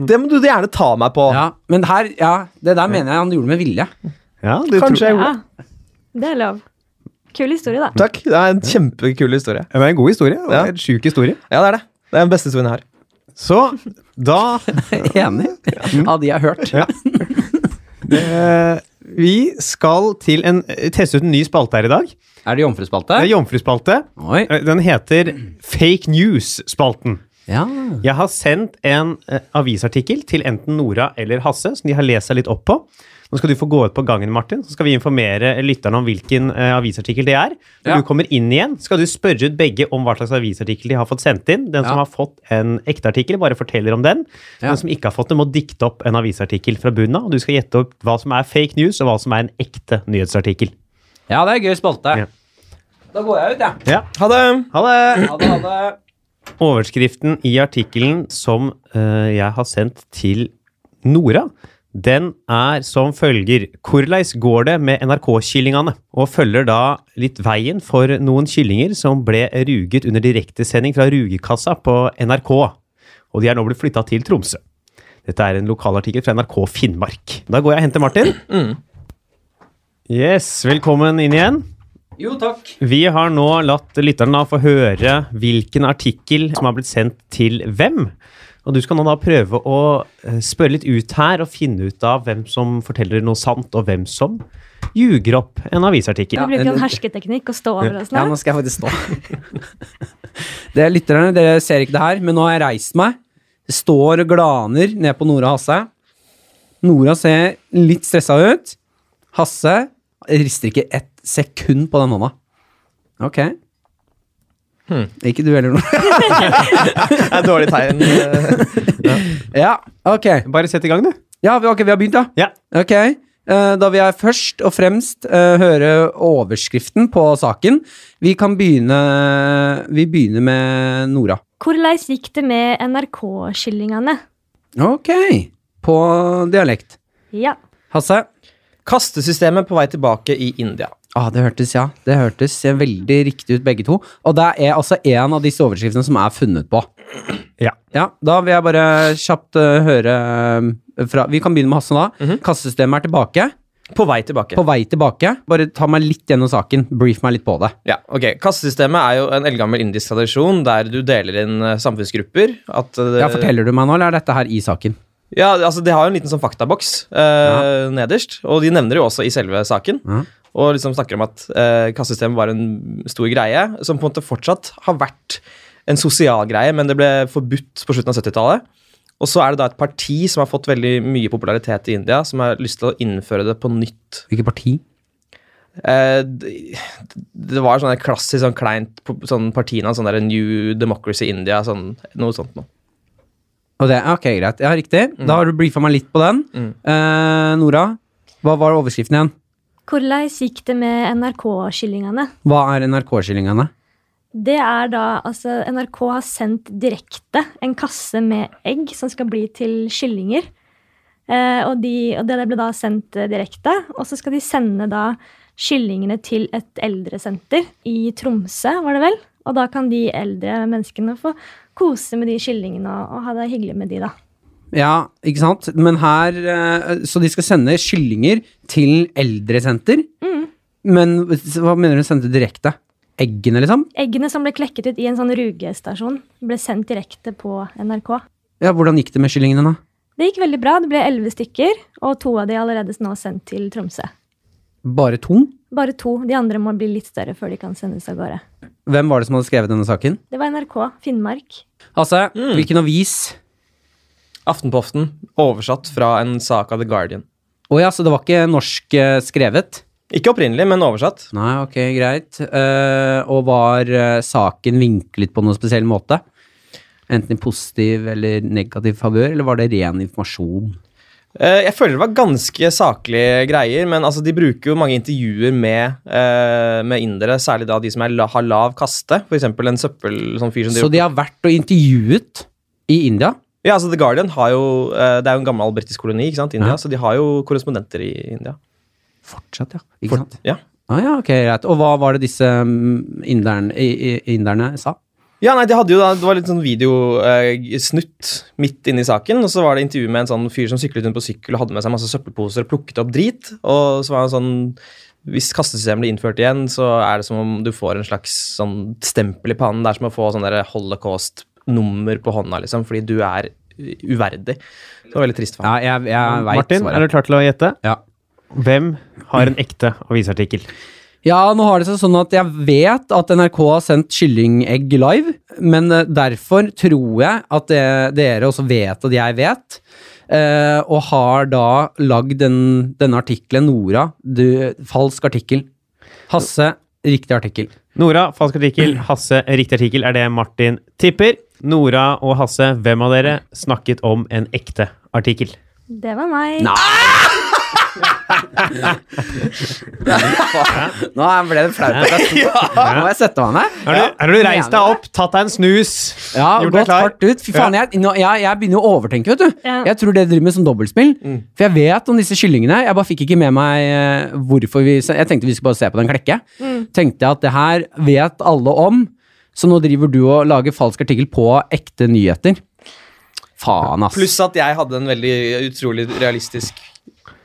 Speaker 2: Ja! Det må du gjerne ta meg på.
Speaker 1: Ja, men her, ja, det der mener jeg han gjorde med vilje.
Speaker 3: Ja, du
Speaker 2: Kanskje
Speaker 4: det,
Speaker 2: jeg gjorde
Speaker 4: ja. det er lov. Kul historie, da.
Speaker 2: Takk. Det er en kjempekul historie.
Speaker 3: Det er en god historie. og
Speaker 2: Ja.
Speaker 3: En sjuk historie.
Speaker 2: Ja, det er det. Det er den beste historien jeg har.
Speaker 3: Så da
Speaker 1: Enig av de jeg har hørt.
Speaker 3: Ja. Eh, vi skal til en, teste ut en ny spalte her i dag. Det
Speaker 1: Er det jomfruspalte?
Speaker 3: er Jomfruspalte.
Speaker 1: Oi.
Speaker 3: Eh, Den heter Fake News-spalten.
Speaker 1: Ja.
Speaker 3: Jeg har sendt en eh, avisartikkel til enten Nora eller Hasse, som de har lest seg litt opp på. Nå skal du få gå ut på gangen, Martin, så skal vi informere lytterne om hvilken eh, avisartikkel det er. Når
Speaker 1: Ja.
Speaker 3: du kommer inn igjen, skal du spørre ut begge om hva slags avisartikkel de har fått sendt inn. Den
Speaker 1: Ja.
Speaker 3: som har fått en ekte artikkel, bare forteller om den.
Speaker 1: Ja.
Speaker 3: Den som ikke har fått det, må dikte opp en avisartikkel fra bunnen av. og Du skal gjette opp hva som er fake news, og hva som er en ekte nyhetsartikkel.
Speaker 1: ja, det er gøy spalte.
Speaker 3: Ja.
Speaker 1: Da går jeg ut, jeg.
Speaker 3: Ja.
Speaker 2: Ha det.
Speaker 3: Ha det!
Speaker 1: Ha det, ha det.
Speaker 3: Overskriften i artikkelen som eh, jeg har sendt til Nora, den er som følger Korleis går det med NRK-kyllingene? Og følger da litt veien for noen kyllinger som ble ruget under direktesending fra rugekassa på NRK. Og de er nå blitt flytta til Tromsø. Dette er en lokalartikkel fra NRK Finnmark. Da går jeg og henter Martin. Yes, velkommen inn igjen.
Speaker 1: Jo, takk.
Speaker 3: Vi har nå latt lytterne da få høre hvilken artikkel som har blitt sendt til hvem. Og du skal nå da prøve å eh, spørre litt ut her og finne ut av hvem som forteller noe sant, og hvem som ljuger opp en avisartikkel.
Speaker 4: Du bruker jo en hersketeknikk og sånn. stå over oss
Speaker 1: Ja,
Speaker 4: nå.
Speaker 1: nå skal jeg faktisk stå. det er lytterne, dere ser ikke det her, men nå har jeg reist meg. Det står og glaner ned på Nora og Hasse. Nora ser litt stressa ut. Hasse rister ikke ett sekund på den hånda. Ok. Ikke du heller, Nora.
Speaker 2: Det er et dårlig tegn.
Speaker 1: ja, ok.
Speaker 3: Bare sett i gang, du.
Speaker 1: Ja, vi, ok, vi har begynt, ja.
Speaker 3: Ja.
Speaker 1: Ok. eh, Da vil jeg først og fremst eh, høre overskriften på saken. Vi kan begynne Vi begynner med Nora.
Speaker 4: Korleis gikk det med NRK-kyllingene?
Speaker 1: Ok. På dialekt.
Speaker 4: Ja.
Speaker 1: Hasse?
Speaker 2: Kastesystemet på vei tilbake i India.
Speaker 1: Ah, det hørtes, ja. Det hørtes veldig riktig ut, begge to. Og det er altså en av disse overskriftene som er funnet på.
Speaker 3: Ja.
Speaker 1: Ja, Da vil jeg bare kjapt eh, høre eh, fra Vi kan begynne med Hasse, da. Kassesystemet er tilbake.
Speaker 2: På vei tilbake.
Speaker 1: På vei tilbake. Bare ta meg litt gjennom saken. Brief meg litt på det.
Speaker 2: Ja, ok. Kastesystemet er jo en eldgammel indisk tradisjon der du deler inn eh, samfunnsgrupper. At, eh,
Speaker 1: Ja, Forteller du meg nå, eller er dette her i saken?
Speaker 2: Ja, altså De har jo en liten sånn faktaboks eh, nederst, og de nevner det jo også i selve saken.
Speaker 1: Ja.
Speaker 2: Og liksom snakker om at eh, kassesystemet var en stor greie, som på en måte fortsatt har vært en sosial greie, men det ble forbudt på slutten av 70-tallet. Og så er det da et parti som har fått veldig mye popularitet i India, som har lyst til å innføre det på nytt.
Speaker 1: Hvilket parti?
Speaker 2: Eh, d- det var sånn der klassisk sånn kleint po- sånn partinavn, sånn der New Democracy India, sånn, noe sånt noe.
Speaker 1: Og det, ok, greit. Mm. Ja, riktig. Da har du briefa meg litt på den. Eh, Nora, hva var overskriften igjen?
Speaker 4: Hvordan gikk det med NRK-kyllingene?
Speaker 1: Hva er NRK-kyllingene?
Speaker 4: Det er da altså NRK har sendt direkte en kasse med egg som skal bli til kyllinger. Eh, og, de, og det ble da sendt eh, direkte. Og så skal de sende da kyllingene til et eldresenter i Tromsø, var det vel? Og da kan de eldre menneskene få kose med de kyllingene og, og ha det hyggelig med de, da.
Speaker 1: Ja, ikke sant? Men her eh, Så de skal sende kyllinger til eldresenter? Men s- hva mener du sendte direkte? Eggene, liksom?
Speaker 4: Eggene som ble klekket ut i en sånn rugestasjon, ble sendt direkte på NRK.
Speaker 1: Ja, Hvordan gikk det med kyllingene, da?
Speaker 4: Det gikk veldig bra. Det ble elleve stykker, og to av de er allerede nå sendt til Tromsø.
Speaker 1: Bare to?
Speaker 4: Bare to. De andre må bli litt større før de kan sendes av gårde.
Speaker 1: Hvem var det som hadde skrevet denne saken?
Speaker 4: Det var NRK Finnmark.
Speaker 1: Hasse, hvilken avis?
Speaker 2: Aftenpoften, oversatt fra en sak av The Guardian.
Speaker 1: Å ja, så det var ikke norsk eh, skrevet?
Speaker 2: Ikke opprinnelig, men oversatt.
Speaker 1: Nei, ok, greit. Eh, og var eh, saken vinklet på noen spesiell måte? Enten i positiv eller negativ favør, eller var det ren informasjon?
Speaker 2: Eh, Jeg føler det var ganske saklige greier, men altså, de bruker jo mange intervjuer med, eh, med indere, særlig da de som er la, har lav kaste, f.eks. en søppel... Sånn fyr som
Speaker 1: Så de har vært og intervjuet i India?
Speaker 2: Ja, altså The Guardian har jo eh, Det er jo en gammel britisk koloni, ikke sant, India,
Speaker 1: Ja.
Speaker 2: så de har jo korrespondenter i India.
Speaker 1: Fortsatt, ja. Ikke sant?
Speaker 2: Ja.
Speaker 1: Ah, ja, ok, greit. Og hva var det disse mm, inderne, i, i, inderne sa?
Speaker 2: Ja, nei, de hadde jo da, Det var litt sånn videosnutt midt inne i saken. Og så var det intervju med en sånn fyr som syklet rundt på sykkel og hadde med seg masse søppelposer og plukket opp drit. Og så var han sånn Hvis kastesystemet blir innført igjen, så er det som om du får en slags sånn stempel i pannen. Det er som å få sånn der holocaust-nummer på hånda, liksom, fordi du er uverdig. Det var veldig trist for ham.
Speaker 1: Ja, jeg, jeg veit
Speaker 3: Mm, Martin, er du klar til å gjette?
Speaker 1: Ja.
Speaker 3: Hvem har en ekte avisartikkel?
Speaker 1: ja, nå har det seg sånn at jeg vet at NRK har sendt kyllingegg live, men eh, derfor tror jeg at det, dere også vet at jeg vet, eh, og har da lagd den, denne artikkelen, Nora, du, falsk artikkel. Hasse, riktig artikkel.
Speaker 3: Nora, falsk artikkel. Hasse, riktig artikkel, er det Martin tipper. Nora og Hasse, hvem av dere snakket om en ekte artikkel?
Speaker 4: Det var meg.
Speaker 1: Nå ble det flaut. at jeg sto- Nå må jeg sette meg ned.
Speaker 3: Har du, har du reist deg opp, tatt deg en snus,
Speaker 1: Ja,
Speaker 3: gjort deg
Speaker 1: gått
Speaker 3: klar?
Speaker 1: hardt ut. Fy faen, jeg, nå, jeg, jeg begynner å overtenke, vet du.
Speaker 4: Ja.
Speaker 1: Jeg tror det driver med som dobbeltspill. For jeg vet om disse kyllingene. Jeg bare fikk ikke med meg eh, hvorfor vi Jeg tenkte vi skulle bare se på den klekke.
Speaker 4: Mm.
Speaker 1: Tenkte jeg at det her vet alle om, så nå driver du og lager falsk artikkel på ekte nyheter. Faen, ass.
Speaker 2: Pluss at jeg hadde en veldig utrolig realistisk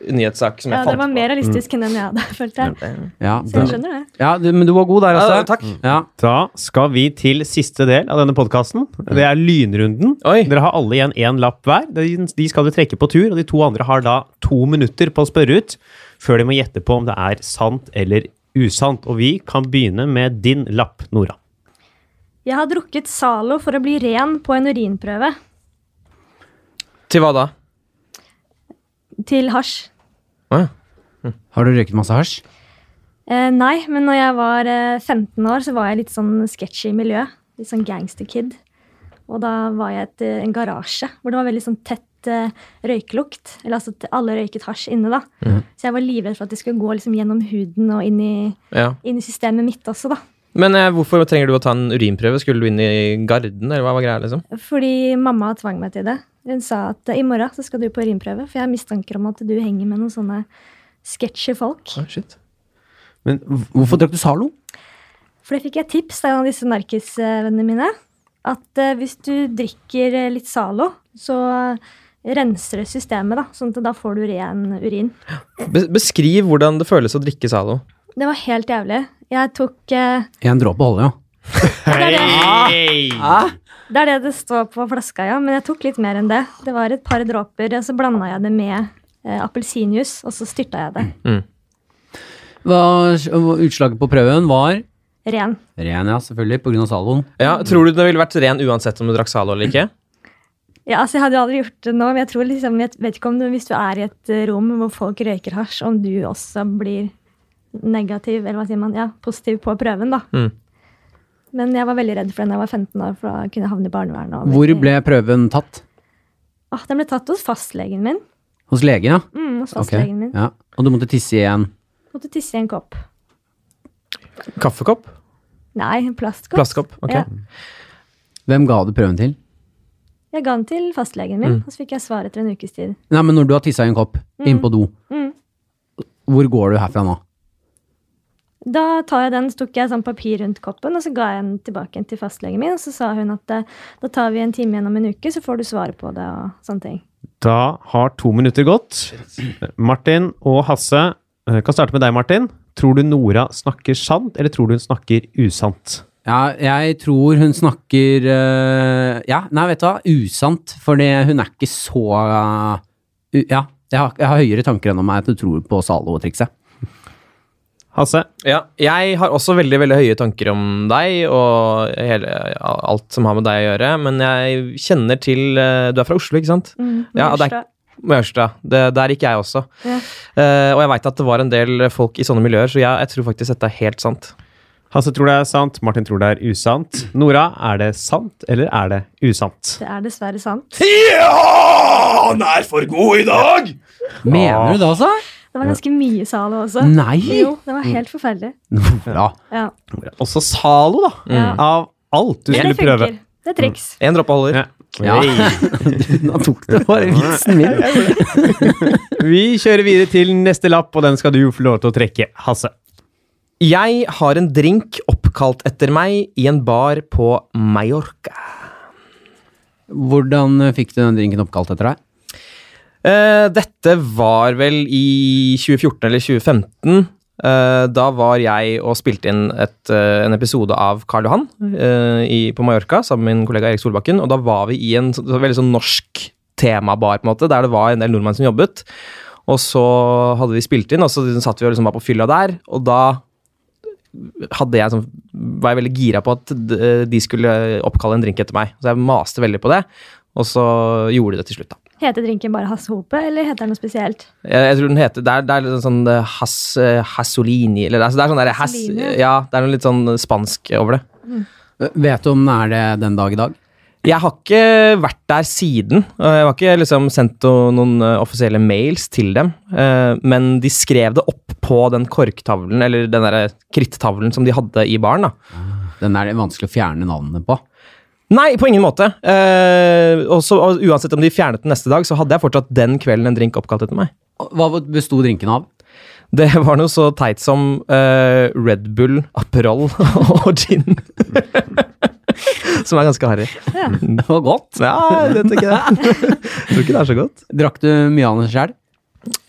Speaker 2: nyhetssak som jeg
Speaker 4: Ja,
Speaker 2: fant
Speaker 4: det var
Speaker 2: på.
Speaker 4: mer realistisk enn den jeg hadde, følte jeg.
Speaker 1: Ja,
Speaker 4: Så jeg
Speaker 1: bra.
Speaker 4: skjønner det.
Speaker 1: ja, du, men du var god der,
Speaker 2: Ja,
Speaker 1: altså.
Speaker 2: takk.
Speaker 1: Ja.
Speaker 3: Da skal vi til siste del av denne podkasten. Det er lynrunden.
Speaker 2: Oi.
Speaker 3: Dere har alle igjen én lapp hver. De de skal du trekke på tur, og de to andre har da to minutter på å spørre ut før de må gjette på om det er sant eller usant. Og vi kan begynne med din lapp, Nora.
Speaker 4: Jeg har drukket Zalo for å bli ren på en urinprøve
Speaker 2: Til hva da?
Speaker 4: til hasj.
Speaker 2: Å, ja.
Speaker 1: Har du røyket masse hasj?
Speaker 4: Eh, nei, men når jeg var eh, 15 år, så var jeg litt sånn sketchy i miljøet. Litt sånn gangsterkid. Og da var jeg i et, eh, en garasje hvor det var veldig sånn tett eh, røyklukt. Eller altså at alle røyket hasj inne, da. Så jeg var livredd for at det skulle gå liksom, gjennom huden og inn i,
Speaker 2: Ja.
Speaker 4: inn i systemet mitt også, da.
Speaker 2: Men eh, hvorfor trenger du å ta en urinprøve? Skulle du inn i garden, eller hva var greia? liksom?
Speaker 4: Fordi mamma tvang meg til det. Hun sa at i morgen så skal du på urinprøve, for jeg har mistanker om at du henger med noen sånne sketchy folk.
Speaker 2: Å, Ah, shit.
Speaker 3: Men
Speaker 1: Hvorfor drakk du Zalo?
Speaker 4: For det fikk jeg tips av en av disse narkisvennene mine. At eh, hvis du drikker eh, litt Zalo, så eh, renser det systemet, da. Sånn at da får du ren urin.
Speaker 2: Be beskriv hvordan det føles å drikke Zalo.
Speaker 4: Det var helt jævlig. Jeg tok eh,
Speaker 1: En dråpe holder, jo.
Speaker 3: Hei!
Speaker 4: Det er det det står på flaska, ja. Men jeg tok litt mer enn det. Det var et par dråper, og så blanda jeg det med eh, appelsinjuice, og så styrta jeg det.
Speaker 1: Hva- Utslaget på prøven var
Speaker 4: Ren.
Speaker 1: Ren, ja, selvfølgelig, på grunn av Zaloen.
Speaker 2: Ja, Tror du det ville vært ren uansett om du drakk Zalo eller ikke?
Speaker 4: Ja, altså Jeg hadde jo aldri gjort det nå, men jeg tror liksom, jeg vet ikke om du, hvis du er i et eh, rom hvor folk røyker hasj, om du også blir negativ, eller hva sier man, ja, positiv på prøven, da.
Speaker 2: Mm.
Speaker 4: Men jeg var veldig redd for den da jeg var 15 år, for da kunne jeg havne i barnevernet. og
Speaker 1: Hvor
Speaker 4: veldig-
Speaker 1: ble prøven tatt?
Speaker 4: Ah, den ble tatt hos fastlegen min.
Speaker 1: Hos legen, ja?
Speaker 4: Mm, hos
Speaker 1: Ok,
Speaker 4: fastlegen min.
Speaker 1: ja. Og du måtte tisse igjen?
Speaker 4: Måtte tisse i en kopp.
Speaker 2: Kaffekopp?
Speaker 4: Nei, en plastkopp.
Speaker 2: Plastkopp. ok.
Speaker 4: Ja.
Speaker 1: Hvem ga du prøven til?
Speaker 4: Jeg ga den til fastlegen
Speaker 1: Mm.
Speaker 4: min, og så fikk jeg svar etter en ukes tid.
Speaker 1: Nei, men når du har tissa i en kopp, inn på do,
Speaker 4: Mm.
Speaker 1: hvor går du herfra nå?
Speaker 4: Da tar jeg den, så tok jeg sånn papir rundt koppen, og så ga jeg den tilbake til fastlegen min. Og så sa hun at eh, da tar vi en time igjen om en uke, så får du svaret på det og sånne ting.
Speaker 3: Da har to minutter gått. Martin og Hasse, eh, kan starte med deg, Martin. Tror du Nora snakker sant, eller tror du hun snakker usant?
Speaker 1: Ja, jeg tror hun snakker eh, Ja, nei, vet du hva, usant. For hun er ikke så eh, u- Ja, jeg har, jeg har høyere tanker enn om meg at du tror på Zalo-trikset.
Speaker 3: Hasse,
Speaker 2: Ja, jeg har også veldig veldig høye tanker om deg og hele, alt som har med deg å gjøre, men jeg kjenner til eh, Du er fra Oslo, ikke sant? Ja, det er-
Speaker 4: Mørstad.
Speaker 2: Maurstad. Det- Der gikk jeg også.
Speaker 4: Mm, Ja.
Speaker 2: Eh, og jeg veit at det var en del folk i sånne miljøer, så jeg, jeg tror faktisk dette er helt sant.
Speaker 3: Hasse tror det er sant, Martin tror det er usant. Nora, er det sant, eller er det usant?
Speaker 4: det er dessverre sant.
Speaker 5: Ja, han er for god i dag!
Speaker 1: Mener du det, altså?
Speaker 4: Det var ganske mye Zalo også.
Speaker 2: Mm.
Speaker 1: Nei!
Speaker 4: Jo, det var helt forferdelig.
Speaker 1: Bra.
Speaker 4: Ja.
Speaker 3: Også Zalo, da.
Speaker 2: Mm.
Speaker 4: Ja.
Speaker 3: Mm. Av alt du
Speaker 4: Men
Speaker 3: skulle
Speaker 4: det
Speaker 3: prøve.
Speaker 4: funker. Det er triks.
Speaker 2: Én dråpe holder.
Speaker 3: Ja.
Speaker 1: Ja. Nå tok det bare vitsen min.
Speaker 3: Vi kjører videre til neste lapp, og den skal du få lov til å trekke, Hasse.
Speaker 2: Jeg har en drink oppkalt etter meg i en bar på Mallorca.
Speaker 1: Hvordan fikk du den drinken oppkalt etter deg?
Speaker 2: Eh, dette var vel i 2014 eller 2015. Eh, da var jeg og spilte inn et, eh, en episode av Karl Johan eh, i, på Mallorca sammen med min kollega Erik Solbakken. Og da var vi i en så- så veldig sånn norsk temabar, på en måte, der det var en del nordmenn som jobbet. Og så hadde vi spilt inn, og så liksom satt vi og liksom var på fylla der. Og da hadde jeg sånn, var jeg veldig gira på at d- de skulle oppkalle en drink etter meg. Så jeg maste veldig på det, og så gjorde de det til slutt, da.
Speaker 4: Heter drinken bare Hasse Hope, eller heter den noe spesielt?
Speaker 2: Jeg, jeg tror den heter Det er, det er litt sånn eh, has, eh, Hasolini eller, altså, Det er sånn der, has,
Speaker 4: Hasolini?
Speaker 2: Ja, det er noe litt sånn spansk over det.
Speaker 1: Vet du om den er det den dag i dag?
Speaker 2: Jeg har ikke vært der siden. og Jeg har ikke liksom sendt no- noen eh, offisielle mails til dem. eh, Men de skrev det opp på den korktavlen, eller den der krittavlen som de hadde i baren. da.
Speaker 1: Den er det vanskelig å fjerne navnene på.
Speaker 2: Nei, på ingen måte. Eh, og så- og uansett om de fjernet den neste dag, så hadde jeg fortsatt den kvelden en drink oppkalt etter meg.
Speaker 1: Hva besto drinken av?
Speaker 2: Det var noe så teit som eh, Red Bull, Aperol og gin. som er ganske harry. Mm.
Speaker 1: Det var godt.
Speaker 2: Ja, jeg vet ikke det. Jeg tror ikke det er så godt.
Speaker 1: Drakk du mye av den sjøl?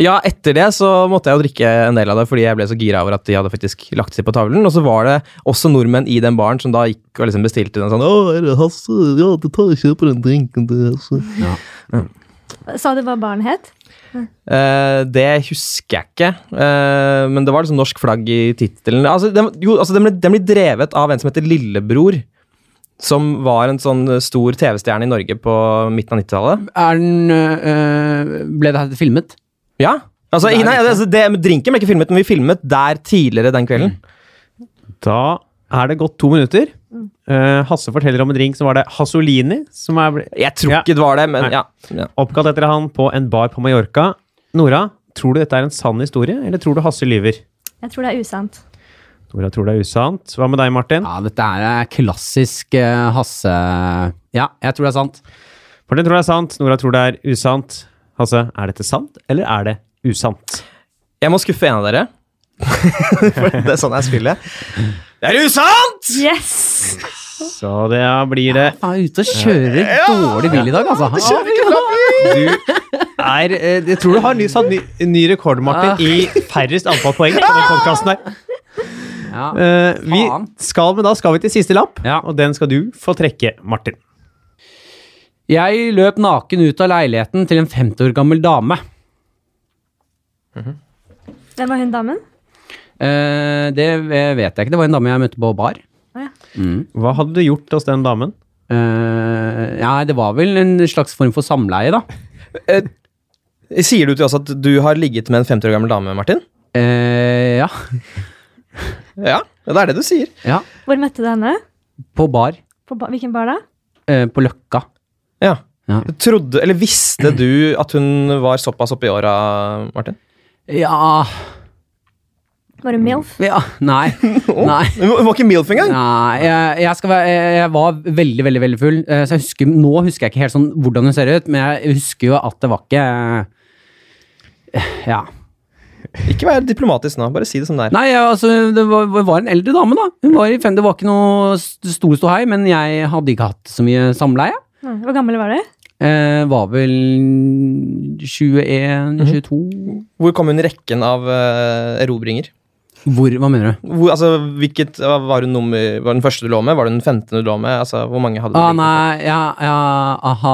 Speaker 2: Ja, etter det så måtte jeg jo drikke en del av det fordi jeg ble så gira over at de hadde faktisk lagt seg på tavlen. Og så var det også nordmenn i den baren som da gikk og liksom bestilte den sånn Å, er det Hasse? Ja, det tar jeg kjøper den drinken til Hasse.
Speaker 4: Sa du hva barnet het?
Speaker 2: Eh, det husker jeg ikke, eh, men det var liksom norsk flagg i tittelen. Altså, den, jo, altså, den, ble, den ble drevet av en som heter Lillebror, som var en sånn eh, stor TV-stjerne i Norge på midten av 90-tallet.
Speaker 1: Er den øh, Ble det her filmet?
Speaker 2: Ja. Altså,
Speaker 1: Nei,
Speaker 2: nei, altså, det med drinken ble ikke filmet, men vi filmet der tidligere den kvelden.
Speaker 3: Da er det gått to minutter.
Speaker 4: Mm.
Speaker 3: Eh, Hasse forteller om en drink som var det Hasolini, som er bl-
Speaker 2: Jeg tror
Speaker 3: Ja.
Speaker 2: ikke det var det, men
Speaker 3: Nei.
Speaker 2: ja. ja.
Speaker 3: oppkalt etter han på en bar på Mallorca. Nora, tror du dette er en sann historie, eller tror du Hasse lyver?
Speaker 4: Jeg tror det er usant.
Speaker 3: Nora tror det er usant. Hva med deg, Martin?
Speaker 1: Ja, dette her er klassisk øh, Hasse... Ja, jeg tror det er sant.
Speaker 3: Martin tror det er sant, Nora tror det er usant. Hasse, er dette sant, eller er det usant?
Speaker 2: Jeg må skuffe en av dere. For det er sånn jeg spiller. Det er usant!
Speaker 4: Yes!
Speaker 3: Så det ja, blir det
Speaker 1: Faen, ute og kjører dårlig bil i dag, altså.
Speaker 3: Du er eh, Jeg tror du har ny, satt ny, ny rekord,
Speaker 1: Ah.
Speaker 3: Martin, i færrest antall poeng på den podkasten her.
Speaker 1: Ja.
Speaker 3: Eh, vi
Speaker 1: Faen.
Speaker 3: skal, men da skal vi til siste lapp,
Speaker 1: Ja.
Speaker 3: og den skal du få trekke, Martin.
Speaker 1: Jeg løp naken ut av leiligheten til en 50 år gammel dame.
Speaker 4: Hvem var hun damen?
Speaker 1: Eh, det vet jeg ikke. Det var en dame jeg møtte på bar.
Speaker 3: Hva hadde du gjort hos den damen?
Speaker 1: Eh, nei, det var vel en slags form for samleie, da.
Speaker 2: Sier du til oss at du har ligget med en 50 år gammel dame, Martin?
Speaker 1: Eh, ja.
Speaker 2: Ja, det er det du sier.
Speaker 1: ja.
Speaker 4: Hvor møtte du henne?
Speaker 1: På bar.
Speaker 4: På ba hvilken bar da?
Speaker 1: Eh, på Løkka.
Speaker 2: Ja.
Speaker 1: Ja.
Speaker 2: Trodde, eller visste du at hun var såpass oppi åra, Martin?
Speaker 1: Ja
Speaker 4: Var du
Speaker 2: Mm.
Speaker 4: MILF?
Speaker 1: Ja, nei. nei.
Speaker 2: Hun var ikke MILF engang!
Speaker 1: Nei, jeg, jeg, skal være, jeg jeg var veldig, veldig veldig full. eh, Så jeg husker, Nå husker jeg ikke helt sånn hvordan hun ser ut, men jeg husker jo at det var ikke eh, Ja.
Speaker 2: Ikke vær diplomatisk nå, bare si det som det er.
Speaker 1: Nei, jeg, altså, det var, det var en eldre dame, da. Hun var i fem, Det var ikke noe st- stor ståhei, men jeg hadde ikke hatt så mye samleie.
Speaker 4: Nei, Hvor gammel var du?
Speaker 1: Eh, var vel 21-22
Speaker 2: Hvor kom hun i rekken av eh, erobringer?
Speaker 1: Hvor? Hva mener du?
Speaker 2: Hvor, altså, hvilket, hva var, hun nummer, var den første du lå med? Var det den femte du lå med? Altså, hvor mange hadde du?
Speaker 1: Ah,
Speaker 2: ligget med?
Speaker 1: nei, ja, ja aha,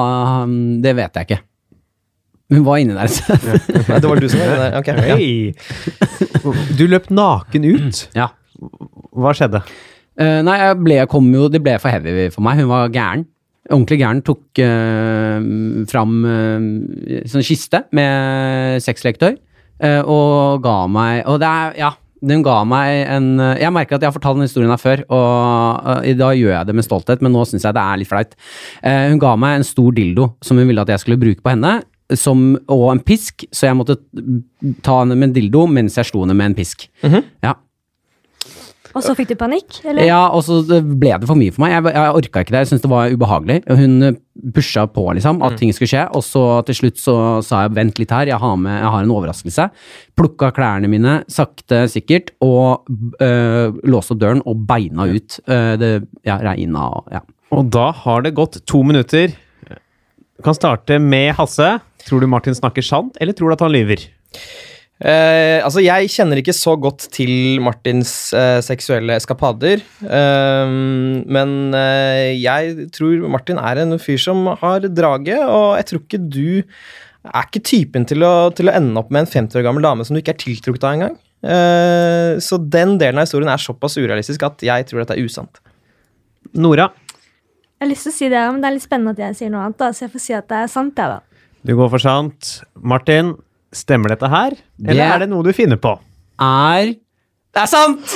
Speaker 1: mm, Det vet jeg ikke. Hun var inni der. Så.
Speaker 2: Nei, Det var du som var det. Ok. Ja.
Speaker 3: Hei! Du løp naken ut.
Speaker 1: Ja.
Speaker 3: Hva skjedde?
Speaker 1: Eh, nei, jeg ble, jeg kom jo, det ble for heavy for meg. Hun var gæren. Ordentlig gæren. Tok eh, fram eh, sånn kiste med sexleketøy eh, og ga meg Og det er Ja. Den ga meg en eh, Jeg merker at jeg har fortalt den historien her før, og eh, i dag gjør jeg det med stolthet, men nå syns jeg det er litt flaut. Eh, hun ga meg en stor dildo som hun ville at jeg skulle bruke på henne, som, og en pisk, så jeg måtte ta henne med en dildo mens jeg slo henne med en pisk. Ja.
Speaker 4: Og så fikk du panikk? Eller?
Speaker 1: Ja, og så ble det for mye for meg. Jeg, jeg orka ikke det. Jeg syntes det var ubehagelig. Hun eh, pusha på, liksom,
Speaker 2: Mm.
Speaker 1: at ting skulle skje. Og så til slutt så sa jeg vent litt her, jeg har, med, jeg har en overraskelse. Plukka klærne mine sakte, sikkert, og eh, låste opp døren og beina ut. Eh, det ja, regna og ja.
Speaker 3: Og da har det gått to minutter. Du kan starte med Hasse. Tror du Martin snakker sant, eller tror du at han lyver?
Speaker 2: Eh, altså, jeg kjenner ikke så godt til Martins eh, seksuelle eskapader. Ehm, men eh, jeg tror Martin er en fyr som har draget, og jeg tror ikke du er ikke typen til å, til å ende opp med en 50 år gammel dame som du ikke er tiltrukket av engang. Eh, så den delen av historien er såpass urealistisk at jeg tror dette er usant.
Speaker 3: Nora,
Speaker 4: Jeg har lyst til å si det, men det er litt spennende at jeg sier noe annet, da, så jeg får si at det er sant. Jeg, da.
Speaker 3: du går for sant. Martin, stemmer dette her? Eller
Speaker 1: Det-
Speaker 3: er det noe du finner på?
Speaker 1: Er Det er sant!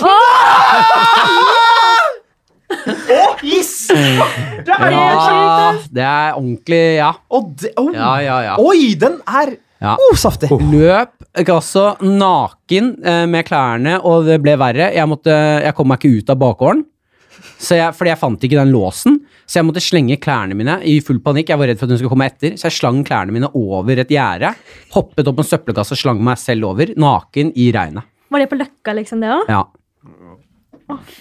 Speaker 2: Det er
Speaker 1: Ja, det er ordentlig Ja,
Speaker 2: Og det- oh,
Speaker 1: ja, ja. ja.
Speaker 2: Oi, den er
Speaker 1: Ja.
Speaker 2: oh, saftig!
Speaker 1: Løp ikke også naken eh, med klærne, og det ble verre. Jeg, måtte, jeg kom meg ikke ut av bakgården, så jeg, fordi jeg fant ikke den låsen. Så jeg måtte slenge klærne mine i full panikk. Jeg var redd for at hun skulle komme etter, så jeg slang klærne mine over et gjerde. Hoppet opp en søppelkasse og slang meg selv over, naken i regnet.
Speaker 4: Var det på Løkka, liksom, det òg?
Speaker 1: Ja.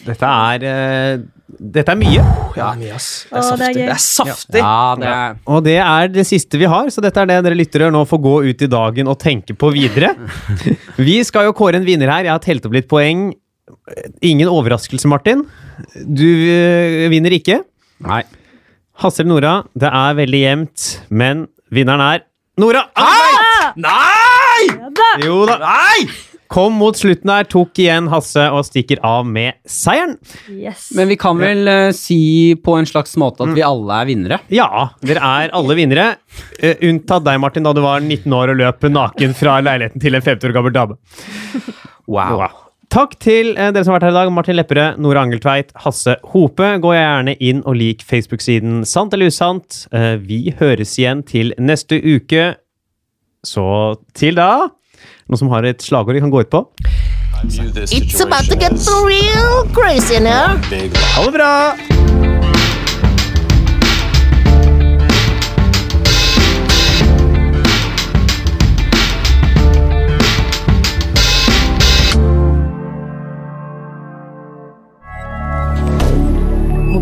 Speaker 3: Dette er eh, Dette er mye.
Speaker 2: Ja, det er mye, ass. Det er
Speaker 4: Å, det er gøy.
Speaker 2: saftig. Det er saftig.
Speaker 1: ja, det er
Speaker 3: Og det er det siste vi har, så dette er det dere lyttere nå får gå ut i dagen og tenke på videre. Vi skal jo kåre en vinner her. Jeg har telt opp litt poeng. Ingen overraskelse, Martin. Du eh, vinner ikke.
Speaker 1: Nei.
Speaker 3: Hasse eller Nora, det er veldig jevnt, men vinneren er Nora! Nei!
Speaker 5: Nei!
Speaker 3: Jo da. Kom mot slutten her, tok igjen Hasse og stikker av med seieren.
Speaker 4: Yes.
Speaker 1: Men vi kan vel eh, si på en slags måte at vi alle er vinnere.
Speaker 3: Ja, dere er alle vinnere. eh, unntatt deg, Martin, da du var 19 år og løp naken fra leiligheten til en 50 år gammel dame.
Speaker 2: Wow.
Speaker 3: Takk til eh, dere som har vært her i dag. Martin Lepperød, Nora Angeltveit, Hasse Hope. Gå gjerne inn og lik Facebook-siden Sant eller usant. Eh, Vi høres igjen til neste uke. Så til da Noen som har et slagord de kan gå ut på?
Speaker 6: I view this
Speaker 7: It's about to
Speaker 6: situation
Speaker 7: get
Speaker 6: as
Speaker 7: real crazy now.
Speaker 6: big
Speaker 3: Ha det bra!